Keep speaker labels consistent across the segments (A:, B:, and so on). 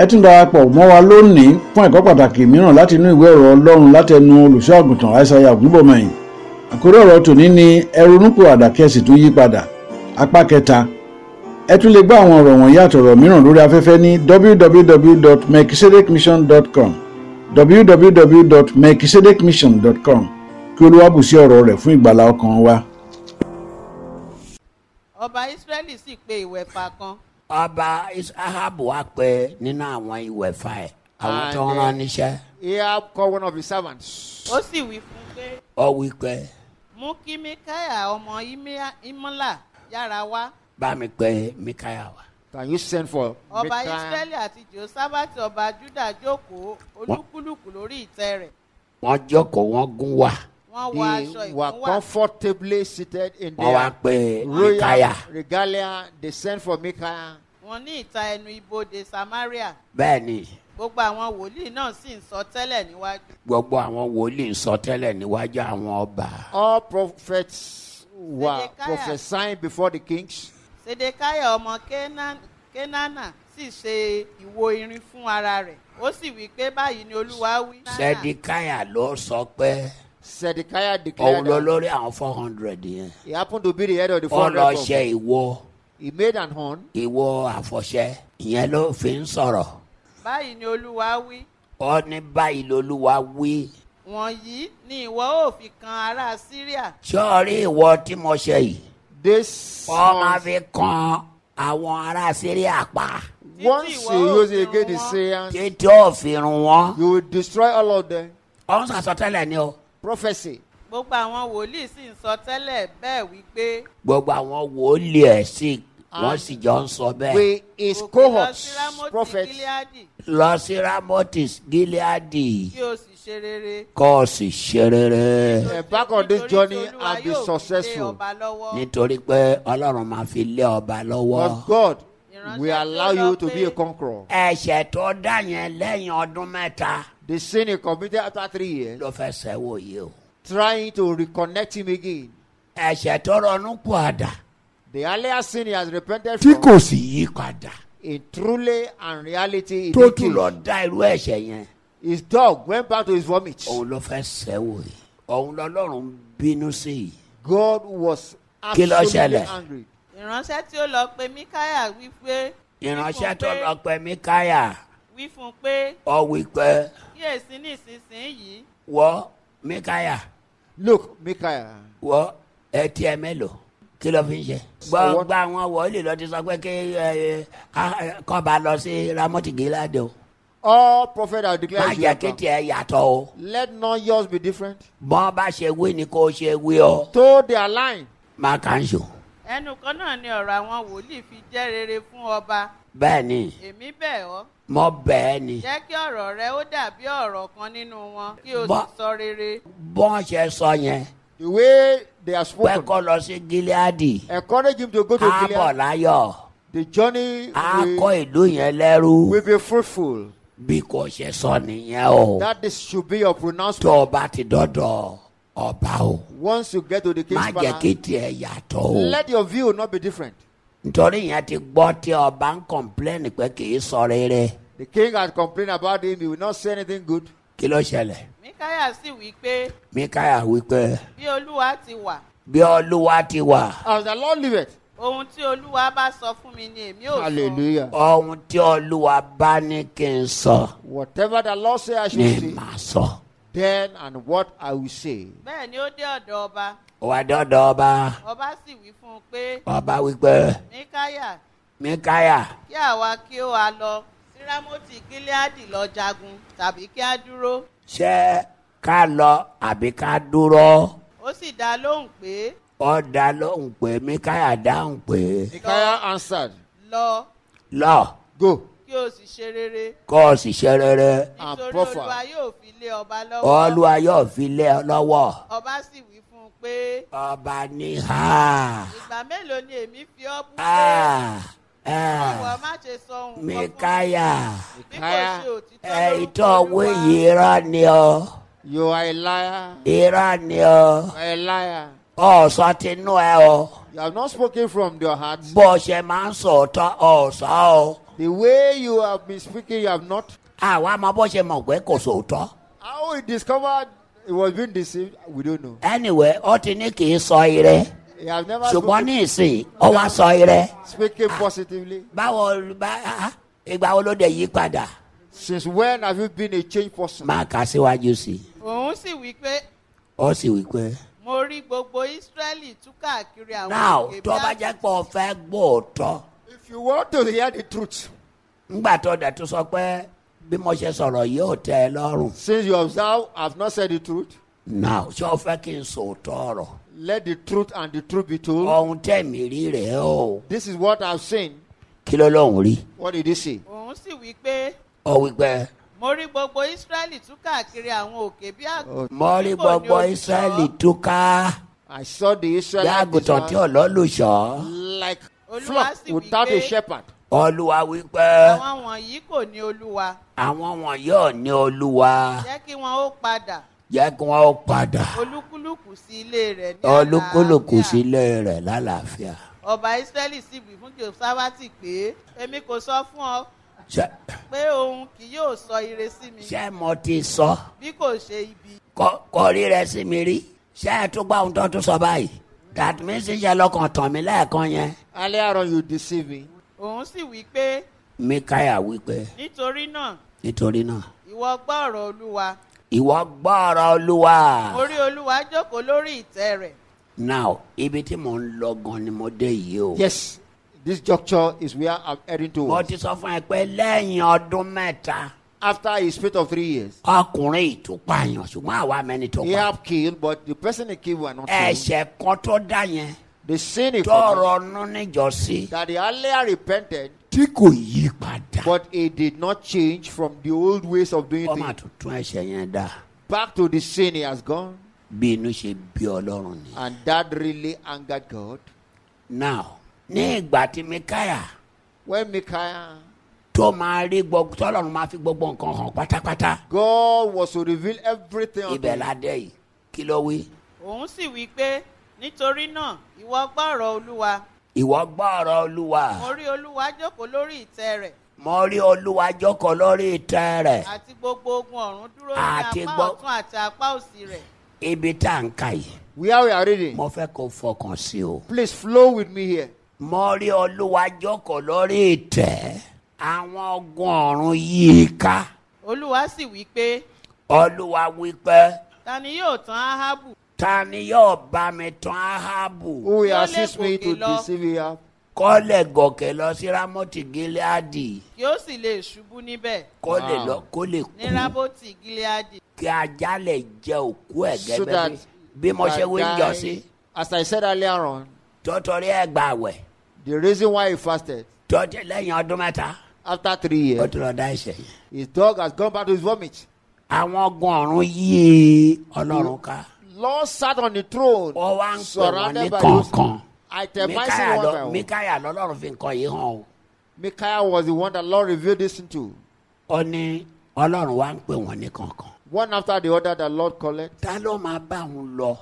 A: ẹ tún darapọ̀ mọ́ wa lónìí fún ẹ̀kọ́ pàtàkì mìíràn láti inú ìwé ọ̀rọ̀ ọlọ́run látẹnu olùṣọ́ àgùntàn àìsàyà ògúnbọ̀mọyìn àkórí ọ̀rọ̀ tòní ni ẹ ronúpìwàdà kí ẹ sì tún yí padà apá kẹta ẹ tún lè gbọ́ àwọn ọ̀rọ̀ wọ̀nyí àtọ̀rọ̀ mìíràn lórí afẹ́fẹ́ ní www.mekisedekmission.com www.mekisedekmission.com kí olúwa bù sí ọ̀rọ̀ rẹ̀ fún ìgbàlá ọkàn wa.
B: ọba israẹli sì pe ìwẹ̀fà kan
C: ọba Is- ahab wá pé nínú àwọn ìwẹ̀fà ẹ̀ àwọn tó ń
D: And,
C: rán níṣẹ́
D: Ahab called one of his servants
B: ó sì wí fún un pé
C: ọ wí pé
B: mú kí mikaya ọmọ Imea- imola yára wá
C: bá mi pé mikaya wá.
D: that you sent for.
B: ọba
D: Mikal.
B: israẹli àti jehoshaphati ọba juda jókòó olúkúlùkù lórí ìtẹ́ rẹ̀
C: wọ́n jókòó wọ́n gún
B: wọ́n wọ
C: wá
B: aṣọ
D: They were
B: ìkúnwà
D: comfortably seated in
C: wọ́n wá
D: their
C: pé mikaya
D: royal regalia. They sent for Micaiah.
B: wọ́n ní ìta ẹnu ibodè samaria
C: bẹ́ẹ̀ ni
B: gbogbo àwọn wòlíì náà sì ń sọ tẹ́lẹ̀ níwájú
C: gbogbo àwọn wòlíì ń sọ tẹ́lẹ̀ níwájú àwọn ọba
D: All prophets were
B: Zedekiah.
D: prophesying before the kings.
B: sedekaya ọmọ Kenan- kenana sì ṣe ìwo irin fún ara rẹ̀ ó sì wí pé báyìí ni olúwa wí.
C: sẹ́díkáyà ló sọ pé
D: Zedekiah
C: òun
D: declared
C: ló
D: that
C: lórí àwọn four hundred yẹn
D: he happened to be the head of the
C: ó lọ
D: 400
C: ṣe
D: company.
C: ìwo
D: He made an horn.
C: ìwo àfọ̀ṣẹ ìyẹn ló fi ń sọ̀rọ̀
B: báyìí ni olúwa wí
C: ó ní báyìí lolúwa wí
B: wọ̀nyí ni ìwọ ó fi kan ará síríà
C: sọ́ọ̀rí ìwọ tí mo ṣe yìí
D: This
C: wọ́n máa
D: horn,
C: fi kan àwọn ará síríà pa
D: once
B: ìwọ
D: you
B: ó
D: use
B: fi
D: it against the
B: wọn-
D: saying,
C: títí ó fi run wọn.
D: you will destroy all of them.
C: ó ń sàsọtẹ́lẹ̀ ni o
D: Prophecy.
B: gbogbo àwọn wòlíì sì ń sọ tẹ́lẹ̀ bẹ́ẹ̀ wípé
C: gbogbo àwọn wòlíì ẹ̀ sì wọ́n sì jọ ń sọ bẹ́ẹ̀.
D: With his
B: òkè lọ sí
D: cohorts,
B: rámọ́tì
D: prophets,
B: gíláàdì
C: lọ sí ramotis gileadi
B: kí o sì ṣe rere
C: kó o sì ṣe rere
D: Embark on this
B: Nítorí tí
D: journey
B: Olúwa
D: and be
B: yóò fi lé
D: successful.
B: ọba lọ́wọ́.
C: nítorí pé ọlọ́run máa fi lé ọba lọ́wọ́.
D: But God
B: Ìránṣẹ́
D: will
B: tí ó
D: allow
B: lọ
D: you to be
B: pé-
D: a conqueror.
C: ẹ̀ṣẹ̀ tó dá yẹn lẹ́yìn ọdún mẹ́ta
D: The sin he committed after three years,
C: ló fẹ́ sẹ́wọ́ yìí o.
D: trying to reconnect him again.
C: ẹ̀ṣẹ̀ tó ronú pọ̀ àdá
D: The earlier sin he has repented
C: tí
D: from,
C: kò sì yí padà
D: in truly and reality,
C: tó tún lọ
D: iniquity.
C: dá irú ẹ̀ṣẹ̀ yẹn
D: his dog went back to his vomit.
C: òun ló fẹ́ sẹ́wọ́ yìí òun lọ́lọ́run bínú sí i.
D: God was
C: Kí ló
D: absolutely
C: ṣẹlẹ̀?
D: angry.
B: ìránṣẹ́ tí ó lọ pe mikaya wí pé
C: ìránṣẹ́ tó lọ pé mikaya
B: wí fún un pé
C: ọ wí pé
B: kíyèsí nísinsìnyí
C: wọ́ mikaya
D: Look, Micaiah,
C: wọ́ ẹtí ẹ mélòó kí ló fi ń ṣe.
D: Ọwọ́-
C: gbọ́ngbà wọn wọlé lọ ti sọ pé kí ẹ, ẹ, ká- ẹ, kọ́ba lọ sí ramoti gilade o
D: all prophets are
C: má
D: declared. you
C: jẹ́
D: are
C: kí
D: bound.
C: tiẹ̀ yàtọ̀ o
D: Let not yours be different.
C: bọ́n bá ṣe wí ni kò ṣe wí o
D: Though they are lying,
C: má kà ń ṣò.
B: ẹnu kan náà ni ọ̀rọ̀ àwọn wòlíì fi jẹ́ rere fún ọba
C: bẹ́ẹ̀ ni
B: èmi bẹ̀ ọ́
C: mo bẹ́ẹ̀ ni
B: jẹ́ kí ọ̀rọ̀ rẹ ó dàbí ọ̀rọ̀ kan nínú wọn kí o sì
C: Bọ́-
B: sọ rere
C: bọ́n ṣe sọ yẹn
D: the way they are
C: pé
D: spoken,
C: kó lọ sí gileadi
D: encourage him to go to
C: á bọ̀
D: Gilead.
C: láyọ̀
D: The journey
C: á
D: will,
C: kọ́ ìlú yẹn lẹ́rú.
D: will be fruitful.
C: bí kò ṣe sọ nìyẹn o
D: That this should be your pronouncement.
C: tó o bá ti dọdọ ọba o
D: Once you get to the
C: má
D: king's
C: jẹ kí
D: palace,
C: tiẹ yàtọ o
D: let your view not be different.
C: nítorí yẹn ti gbọ tí ọba ń kọ̀ǹpléènì pé kì í sọ rere
D: The king had complained about him. He will not say anything good.
C: kí ló ṣẹlẹ̀
B: mikaya sì wí pé
C: mikaya wípé
B: bí olúwa ti wà
C: bí olúwa ti wà
D: As the Lord liveth.
B: ohun tí olúwa bá sọ fún mi ni èmi ò sọ
D: Hallelujah.
C: ohun tí olúwa bá ní kí n sọ
D: Whatever the Lord say I should
C: ni
D: say,
C: màá sọ
D: then and what I will say.
B: bẹ́ẹ̀ ni ó dé ọ̀dọ̀ ọba
C: wà dọdọ ọba
B: ọba sì wí fún un pé
C: ọba wípé
B: mikaya
C: mikaya
B: kí àwa kí ó a lọ sí rámọ́tì gíláàdì lọ jagun tàbí kí a dúró
C: ṣé ká lọ àbí ká dúró
B: ó sì dá a lóhùn pé
C: ó dá lóhùn pé mikaya dáhùn pé.
D: Micaiah answered,
B: lọ
C: lọ
D: Go.
B: kí o sì ṣe rere
C: kó o sì ṣe rere
D: And
B: nítorí
D: proffer.
B: olúwa yóò fi lé ọba lọ́wọ́
C: olúwa yóò fi lé ọ lọ́wọ́
B: ọba sì wí fún un pé
C: ọba ní ha
B: ìgbà mélòó ni èmi fi ọ́ bú pé
C: ha
B: ìwọ
C: ha
B: má ṣe sọ ohun kan fún mi
C: mikaya
B: bí kò ṣe òtítọ́
C: ẹ
B: lórúkọ
C: ìtọ́
B: Olúwa."
C: wíyì irọ́ ni ọ
D: You are a liar.
C: irọ́ ni ọ
D: You are a liar.
C: ọ̀sọ́ tinú ẹ o
D: You have not spoken from your heart.
C: bó o ṣe máa ń sòótọ́ ọ̀sọ́ o
D: The way you have been speaking, you have not.
C: àwa mọ bó ṣe mọ̀ pé kò sòótọ́
D: How he discovered he was being deceived, we don't know.
C: anyway ó ti ní kì í sọ ire
D: He has never
C: ṣùgbọ́n ní
D: spoken,
C: ìsìn ó wá sọ ire
D: speaking positively.
C: báwo bá ah, ìgbà wo ló dé yí padà
D: Since when have you been a changed person?
C: máa kà síwájú sí i
B: òun sì wí pé
C: ó sì wí pé
B: mo rí gbogbo israẹli tú káàkiri àwọn
C: now
B: òkè
C: tó bá jẹ́ pé o fẹ́ gbóòótọ́
D: If you want to hear the truth,
C: ńgbà tó dẹ̀ tó sọ pé bí mo ṣe sọ̀rọ̀ yóò tẹ́ ẹ lọ́rùn
D: since you observe, I've not said the truth.
C: now ṣé o fẹ́ kí n sòótọ́ ọ̀rọ̀
D: Let the truth and the truth be told.
C: ohun tẹ̀mí rí rèé o
D: This is what I've seen.
C: kí ló lóun rí
D: What did he say?
B: òun sì wí pé
C: ó wí pé
B: mo rí gbogbo israẹli tú káàkiri àwọn òkè bí àgbò
C: mo rí gbogbo israẹli túká
D: I saw the
C: bí àgùntàn tí ò
D: Israelites
C: lọ́lùṣọ́
D: like
B: Olúwa
D: flock
B: sì wí
D: without a
B: pé-
D: shepherd.
C: olúwa wípé
B: àwọn wọ̀nyí kò ní olúwa
C: àwọn wọn yóò ní olúwa
B: jẹ́ kí wọn ó padà
C: jẹ́ kí wọ́n ó padà
B: olúkúlùkù sí ilé rẹ̀ ní
C: olúkúlùkù
B: àlàáfíà.
C: sílé rẹ̀ lálàáfíà.
B: ọba israẹli sì wí fún josafati pé èmi kò sọ fún ọ
C: Ṣé-
B: pé òun kì yóò sọ ire sí mi
C: ṣé mo ti sọ
B: bí kò ṣe ibi
C: kọ kọ rí rẹ sí mi rí ṣé ẹ tún gbọ́ ohun tó tún sọ báyìí that means ṣe lọkàn tàn mí lẹ́ẹ̀kan yẹn.
D: Earlier on, you deceived me.
B: òun sì wí pé
C: mikaya wípé
B: nítorí náà
C: nítorí náà
B: ìwọ gbọ́ ọ̀rọ̀ olúwa
C: ìwọ gbọ́ ọ̀rọ̀ olúwa
B: mo rí olúwa jókòó lórí ìtẹ́ rẹ̀
C: now ibi tí mò ń lọ gan ni mo dé yìí o.
D: Yes, this juncture is where I'm heading
C: mo
D: towards.
C: ti sọ fún ẹ pé lẹ́yìn ọdún mẹ́ta
D: After a split of three years,
C: ọkùnrin ìtúpààyàn ṣùgbọ́n àwa mẹ́ni tó
D: he
C: pa
D: have killed, but the person he killed were not
C: Eh,
D: killed.
C: ẹ̀ṣẹ̀ kan tó dá yẹn
D: The sin he
C: tọrọ
D: committed,
C: ọ̀nà níjọ́sí
D: that he earlier repented,
C: tí kò yí padà
D: but he did not change from the old ways of doing
C: wọ́n máa
D: things.
C: tún tún ẹ̀ṣẹ̀ yẹn dá
D: Back to the sin he has gone,
C: bí inú ṣe bí ọlọ́run ni.
D: and that really angered God.
C: now ní ìgbà tí mikaya
D: When Micaiah,
C: tó máa rí gbogbo tọ́lọ́run máa fi gbogbo nǹkan hàn pátápátá
D: God was to reveal everything unto
C: ibẹ̀
D: him.
C: la dé yìí kí ló wí.
B: òun sì wí pé nítorí náà ìwọ gbọ́ ọ̀rọ̀ olúwa
C: ìwọ gbọ́ ọ̀rọ̀ olúwa
B: mo rí olúwa jókòó lórí ìtẹ́ rẹ̀
C: mo rí olúwa jókòó lórí ìtẹ́ rẹ̀
B: àti gbogbo ogun ọ̀run dúró ní
C: Àti
B: apá
C: gbọ́-
B: ọ̀tún àti apá òsì rẹ̀
C: ibi tá à ń kà yìí
D: Where we are reading,
C: mo fẹ́ kó fọkàn sí o.
D: please flow with me here.
C: mo rí olúwa jókòó lórí ìtẹ́ àwọn ogun ọ̀run yìí ká
B: olúwa sì wí pé
C: olúwa wípé
B: ta ni yóò tán ahabu
C: ta ni yóò bá mi tán áhábù
D: Who will
B: Yóò
D: assist
B: lè
D: me
B: gòkè
D: to
B: lọ.
D: deceive you?
C: kó lè gòkè lọ sí ramoti gileadi
B: kí ó sì lè ṣubú níbẹ̀
C: kó lè lọ kó
B: ní
C: lè kú
B: rábòtì gileadi
C: kí ajá lè jẹ òkú ẹ̀
D: So
C: gẹ́gẹ́
D: that
C: bí bí mo ṣe wí
D: I
C: jọ
D: die.
C: sí
D: As I said earlier on,
C: tọ́tọ́rí ẹ̀ gbà wẹ̀
D: the reason why he fasted
C: tọ́tí lẹ́yìn ọdún mẹ́ta
D: after three
C: ó
D: years,
C: tún lọ dá ẹ̀ṣẹ̀ yẹn.
D: his dog has gone back to his vomit.
C: àwọn ogun ọ̀run yìí ọlọ́run ká
D: Lord sat on the throne,
C: ó wá ń pè wọ́n ní
D: surrounded by those.
C: kọ̀ọ̀kan.
D: Itemizing one by one.
C: mikaya lọlọrun fi nǹkan yìí hàn o
D: Micaiah was the one that Lord revealed this to.
C: ó ní ọlọrun wa ń pè wọn ní kankan
D: One after the other, that Lord collected.
C: ta ló máa bá òun lọ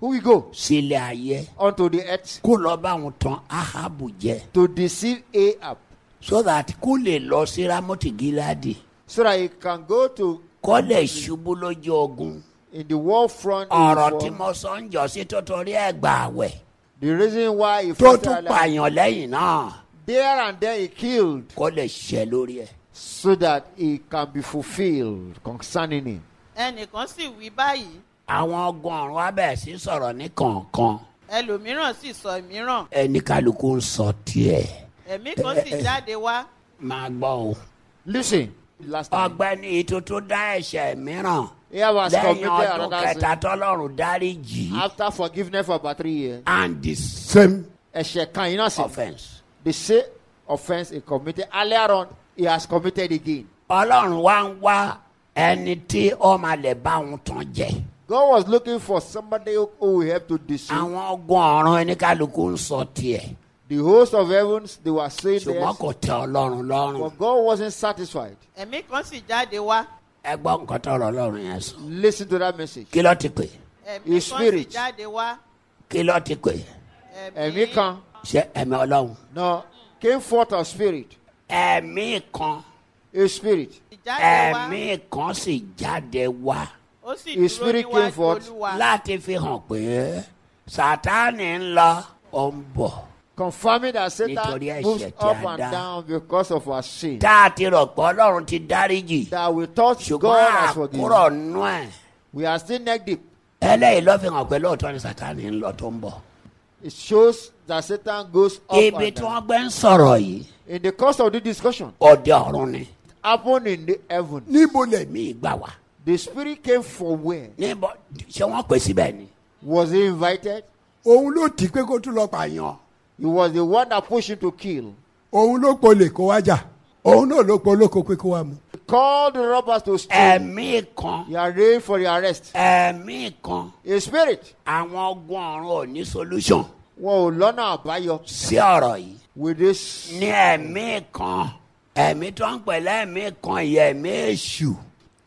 D: Who we go?
C: sílé ayé
D: Unto the earth
C: kó lọ bá òun tan ahabu jẹ
D: to deceive Ahab
C: so that kó lè lọ sí ramoti giladi
D: so that he can go to
C: kó lè ṣubú lójú ogun
D: in the war front. in
C: ọrọ
D: the
C: tí
D: war.
C: mo sọ ń jọ sí tó torí ẹ gbà wẹ
D: The reason why he
C: tó
D: fasted
C: tún
D: earlier-
C: pààyàn lẹyìn náà
D: there and there he killed
C: kó lè ṣẹ lórí ẹ.
D: so that it can be fulfilled concerning him.
B: ẹnìkan sì wí báyìí
C: àwọn ogun ọrùn wa bẹ̀rẹ̀ sí sọ̀rọ̀ ní kọ̀ọ̀kan
B: ẹlòmíràn sì sọ mìíràn
C: ẹnìkálukú ń sọ tiẹ̀
B: ẹ̀mí kan sì jáde wá
C: máa gbọ́ o.
D: Listen, last time.
C: ọgbẹni ìtútù dá ẹsẹ mìíràn
D: He was
C: lẹyìn
D: committed
C: ọdún
D: another
C: kẹta
D: sin
C: tọlọrun dáríjì
D: after forgiveness for about three years.
C: and the same
D: Ẹ̀ṣẹ̀ kan iná sí.
C: offence.
D: The same offense he committed earlier on, he has committed again.
C: ọlọ́run wá ń wá ẹni tí ó máa lè bá òun tán jẹ.
D: God was looking for somebody who who will help to deceive.
C: àwọn ọgbọ́n ọ̀run oníkálukú ń sọ tiẹ̀
D: The host of heavens, they were saying
C: ṣùgbọ́n
D: this,
C: kò tẹ ọlọ́run lọ́rùn.
D: but God wasn't satisfied.
B: ẹ̀mí kan sì jáde wá
C: ẹ gbọ́ nǹkan tọrọ ọlọ́run yẹn sọ.
D: Listen to that message.
C: kí ló ti pè
B: ẹ̀mí
D: His
B: kan sì
D: spirit.
B: jáde wá
C: kí ló ti pè
D: Ẹ̀mí kan,
C: ṣé ẹ̀mí ọlọ́run
D: no, came forth of spirit.
C: ẹ̀mí kan
D: A spirit.
B: ìjáde wá
C: ẹ̀mí kan sì jáde wá
B: ó sì
D: His
B: dúró
D: spirit came
B: níwájú
D: forth.
B: olúwa
C: láti fi hàn pé sátánì ń lọ ó ń bọ̀
D: Confirming that
C: Nítorí
D: Satan
C: ẹ̀ṣẹ̀
D: moves
C: tí a
D: up and
C: dá.
D: down because of our sin.
C: tá a ti rò pé ọlọ́run ti dáríjì
D: That we thought
C: ṣùgbọ́n
D: God
C: àkúrọ̀
D: has forgiven.
C: nú ẹ̀
D: We are still neck deep.
C: eléyìí ló fi hàn pé lóòótọ́ ni sátánì ń lọ tó ń bọ̀
D: It shows that Satan goes up
C: ibi
D: and
C: tí
D: down.
C: wọ́n gbé ń sọ̀rọ̀ yìí
D: In the course of the discussion,
C: òde ọ̀run ni
D: happened in the heaven,
C: níbo lèmi ìgbà wá
D: the spirit came from where?
C: níbo ṣé wọ́n pè síbẹ̀ ni.
D: Was he invited?
C: òun ló tì í pé kó tún lọ pààyàn
D: He was the one that pushed him to kill.
E: òun ló polè kó wá jà òun náà ló polóko pé kó wá mu.
D: He called the robbers to steal.
C: ẹ̀mí kan
D: He arranged for the arrest.
C: ẹ̀mí kan
D: A spirit.
C: àwọn ọgbọ́n ọ̀run ò ní solution
D: Wọn ò lọ́nà àbáyọ
C: sí ọ̀rọ̀ yìí
D: with this.
C: ní ẹ̀mí kan ẹ̀mí tó ń pè lẹ́ẹ̀mí kan yìí ẹ̀mí èṣù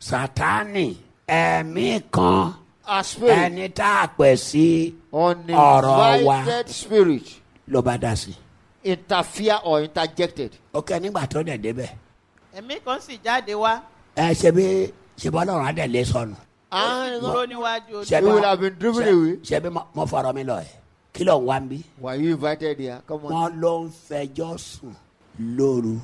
C: sátánì ẹ̀mí kan
D: A spirit.
C: ẹni tá a pè sí ọ̀rọ̀ wa
D: Uninvited spirit
C: ló bá dá sí.
D: interfere or interjected.
C: ok nígbà tó dẹ̀ débẹ̀
B: ẹ̀mí kan sì jáde wá
C: ẹ ṣe bí ṣe bọ́ lọ́run á dẹ̀ lé
B: ó
C: sọnù.
B: sì
D: And
B: dúró níwájú
C: ṣe
D: He
C: bí
B: olúwa
D: will
C: wọn-
D: have been driven
C: ṣe-
D: away.
C: ṣe bí mo- mo fọ̀rọ̀ mi lọ ẹ̀ kí ló ń wá ń bí.
D: were you invited here? Come on.
C: wọ́n ló ń fẹjọ́ sùn lóru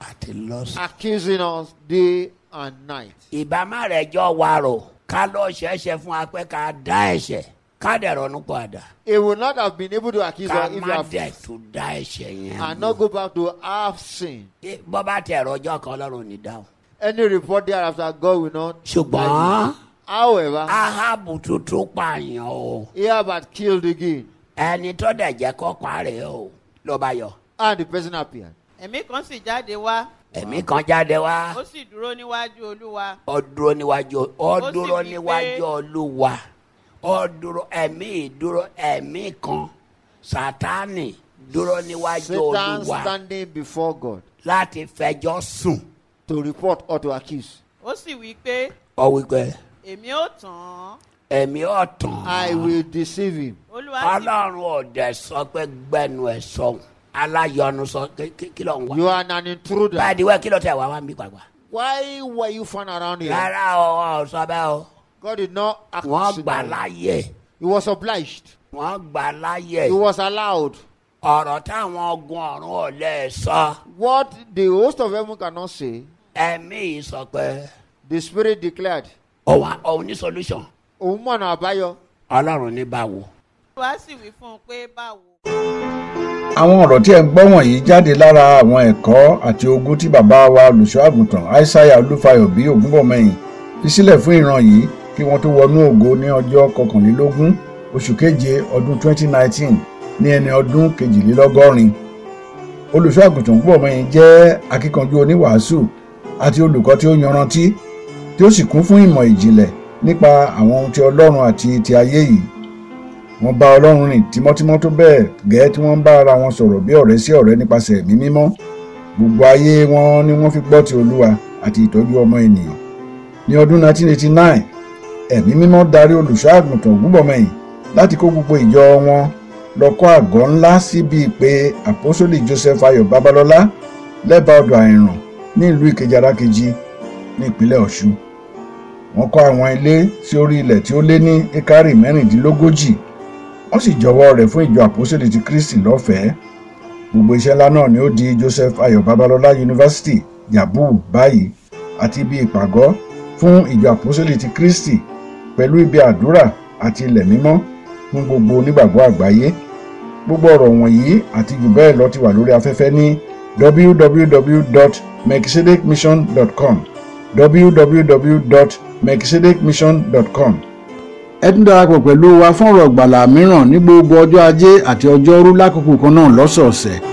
C: àti lọ́sàn.
D: Accusing us day and night.
C: ìbámu rẹ̀ jọ wa rò ká lọ ṣẹ̀ṣẹ̀ fún wa pé ká dá ẹ̀ṣẹ̀ ká dẹ̀ ronú padà
D: He would not have been able to accuse
C: ká
D: us if you
C: má
D: have
C: dẹ̀ tún dá ẹ̀ṣẹ̀ yẹn.
D: and not go back to half sin.
C: mọ́. bọ́ bá tẹ̀ rọjọ́ kan lọ́rùn ní dáhùn.
D: Any report thereafter, God will not.
C: ṣùgbọ́n
D: However,
C: ahabu tuntun pààyàn o
D: he had killed again,
C: ẹni tó dẹ̀ jẹ́ kó parẹ́ o ló bá yọ.
D: and the person appeared.
B: ẹ̀mí kan sì jáde wá
C: ẹ̀mí kan jáde wá.
B: ó sì dúró níwájú olúwa
C: ọ dúró níwájú ọ
B: sì
C: dúró
B: wí pé-
C: níwájú olúwa ọ dúró ẹ̀mí dúró ẹ̀mí kan sátánì dúró níwájú
D: Satan
C: olúwa
D: standing before God
C: láti fẹjọ́ sùn.
D: to report or to accuse.
B: ó sì wí pé
C: ọ wípé
B: èmi ó tàn án
C: ẹ̀mí ọ̀tàn
D: I will deceive him.
B: olúwa sì
C: ọlọ́run ọ̀dẹ sọ pé gbẹnu ẹ̀ sọ̀hún aláyọnu sọ kí- kí kí ló ń wá.
D: You are an intruder.
C: báyìí wá kí ló tẹ̀ wá wá ń bí pàgbà.
D: Why were you found around here?
C: rárá o wọn ò sọ bẹ́ẹ̀ o
D: God did not act.
C: wọ́n gbà
D: scenario.
C: láyè
D: He was obliged.
C: wọ́n gbà láyè
D: He was allowed.
C: ọ̀rọ̀ táwọn ogun ọ̀run ò lè sọ.
D: What the host of heaven cannot say,
C: ẹ̀mí yìí sọ pé
D: the spirit declared.
C: ọ̀wá òun ní solution
D: Òun mọ̀nà àbáyọ.
C: ọlọ́run ní báwo.
B: olúwa sì wí fún un pé báwo.
A: àwọn ọ̀rọ̀ tí ẹ̀ ń gbọ́ wọ̀nyí jáde lára àwọn ẹ̀kọ́ àti ogún tí bàbá wa olùṣọ́ àgùntàn aishaiya olúfayọ bí ògúnbọ̀mọyìn fi sílẹ̀ fún ìran yìí kí wọ́n tó wọnú ògo ní ọjọ́ kọkànlélógún oṣù keje ọdún 2019 ní ẹni ọdún kejìlélọ́gọ́rin olùṣọ́ àgùntàn ògúnbọ̀mọyìn jẹ́ akíkanjú oníwàásù àti olùkọ́ tí ó yanrantí tí ó sì kún fún ìmọ̀ ìjìnlẹ̀ nípa àwọn ohun ti ọlọ́run àti ti ayé yìí wọ́n bá ọlọ́run rìn tímọ́tímọ́ tó bẹ́ẹ̀ gẹ́ẹ́ tí wọ́n ń bá ara wọn sọ̀rọ̀ bí ọ̀rẹ́ sí ọ̀rẹ́ nípasẹ̀ ẹ̀mí mímọ́ gbogbo ayé wọn ni wọ́n fi gbọ́ ti olúwa àti ìtọ́jú ọmọ ènìyàn ní ọdún 1989 ẹ̀mí mímọ́ darí olùṣọ́ àgùntàn ògúnbọ̀mọyìn láti kó gbogbo ìjọ wọn lọ kọ́ àgọ́ ńlá síbi ìpè àpọ́sólì joseph ayọ̀ babalọ́lá lẹ́bàá ọdọ̀ àìràn ní ìlú ìkejì arákejì ní ìpínlẹ̀ ọ̀ṣun wọ́n kọ́ àwọn ilé sí orí ilẹ̀ tí ó lé ní ekari mẹ́rìndínlógójì wọ́n sì jọwọ́ rẹ̀ fún ìjọ àpòsílẹ̀ ti kristi lọ́fẹ̀ẹ́ gbogbo iṣẹ́ ńlá náà ni ó di joseph ayọ̀ babalọ́lá yunifásitì yabu báyìí àti ibi ìpàgọ́ fún ìjọ àpòsílẹ̀ ti kristi pẹ̀lú ibi àdúrà àti ilẹ̀ mímọ́ fún gbogbo onígbàgbọ́ àgbáyé gbogbo ọ̀rọ̀ wọ̀nyí àti jù bẹ́ẹ̀ lọ ti wà lórí afẹ́fẹ́ ní www.mexicidicmission.com www.mexicidicmission.com
E: ẹ tún darapọ̀ pẹ̀lú wa fún ọ̀rọ̀ ìgbàlà mìíràn ní gbogbo ọjọ́ ajé àti ọjọ́ rú lákòókò kan náà lọ́sọ̀ọ̀sẹ̀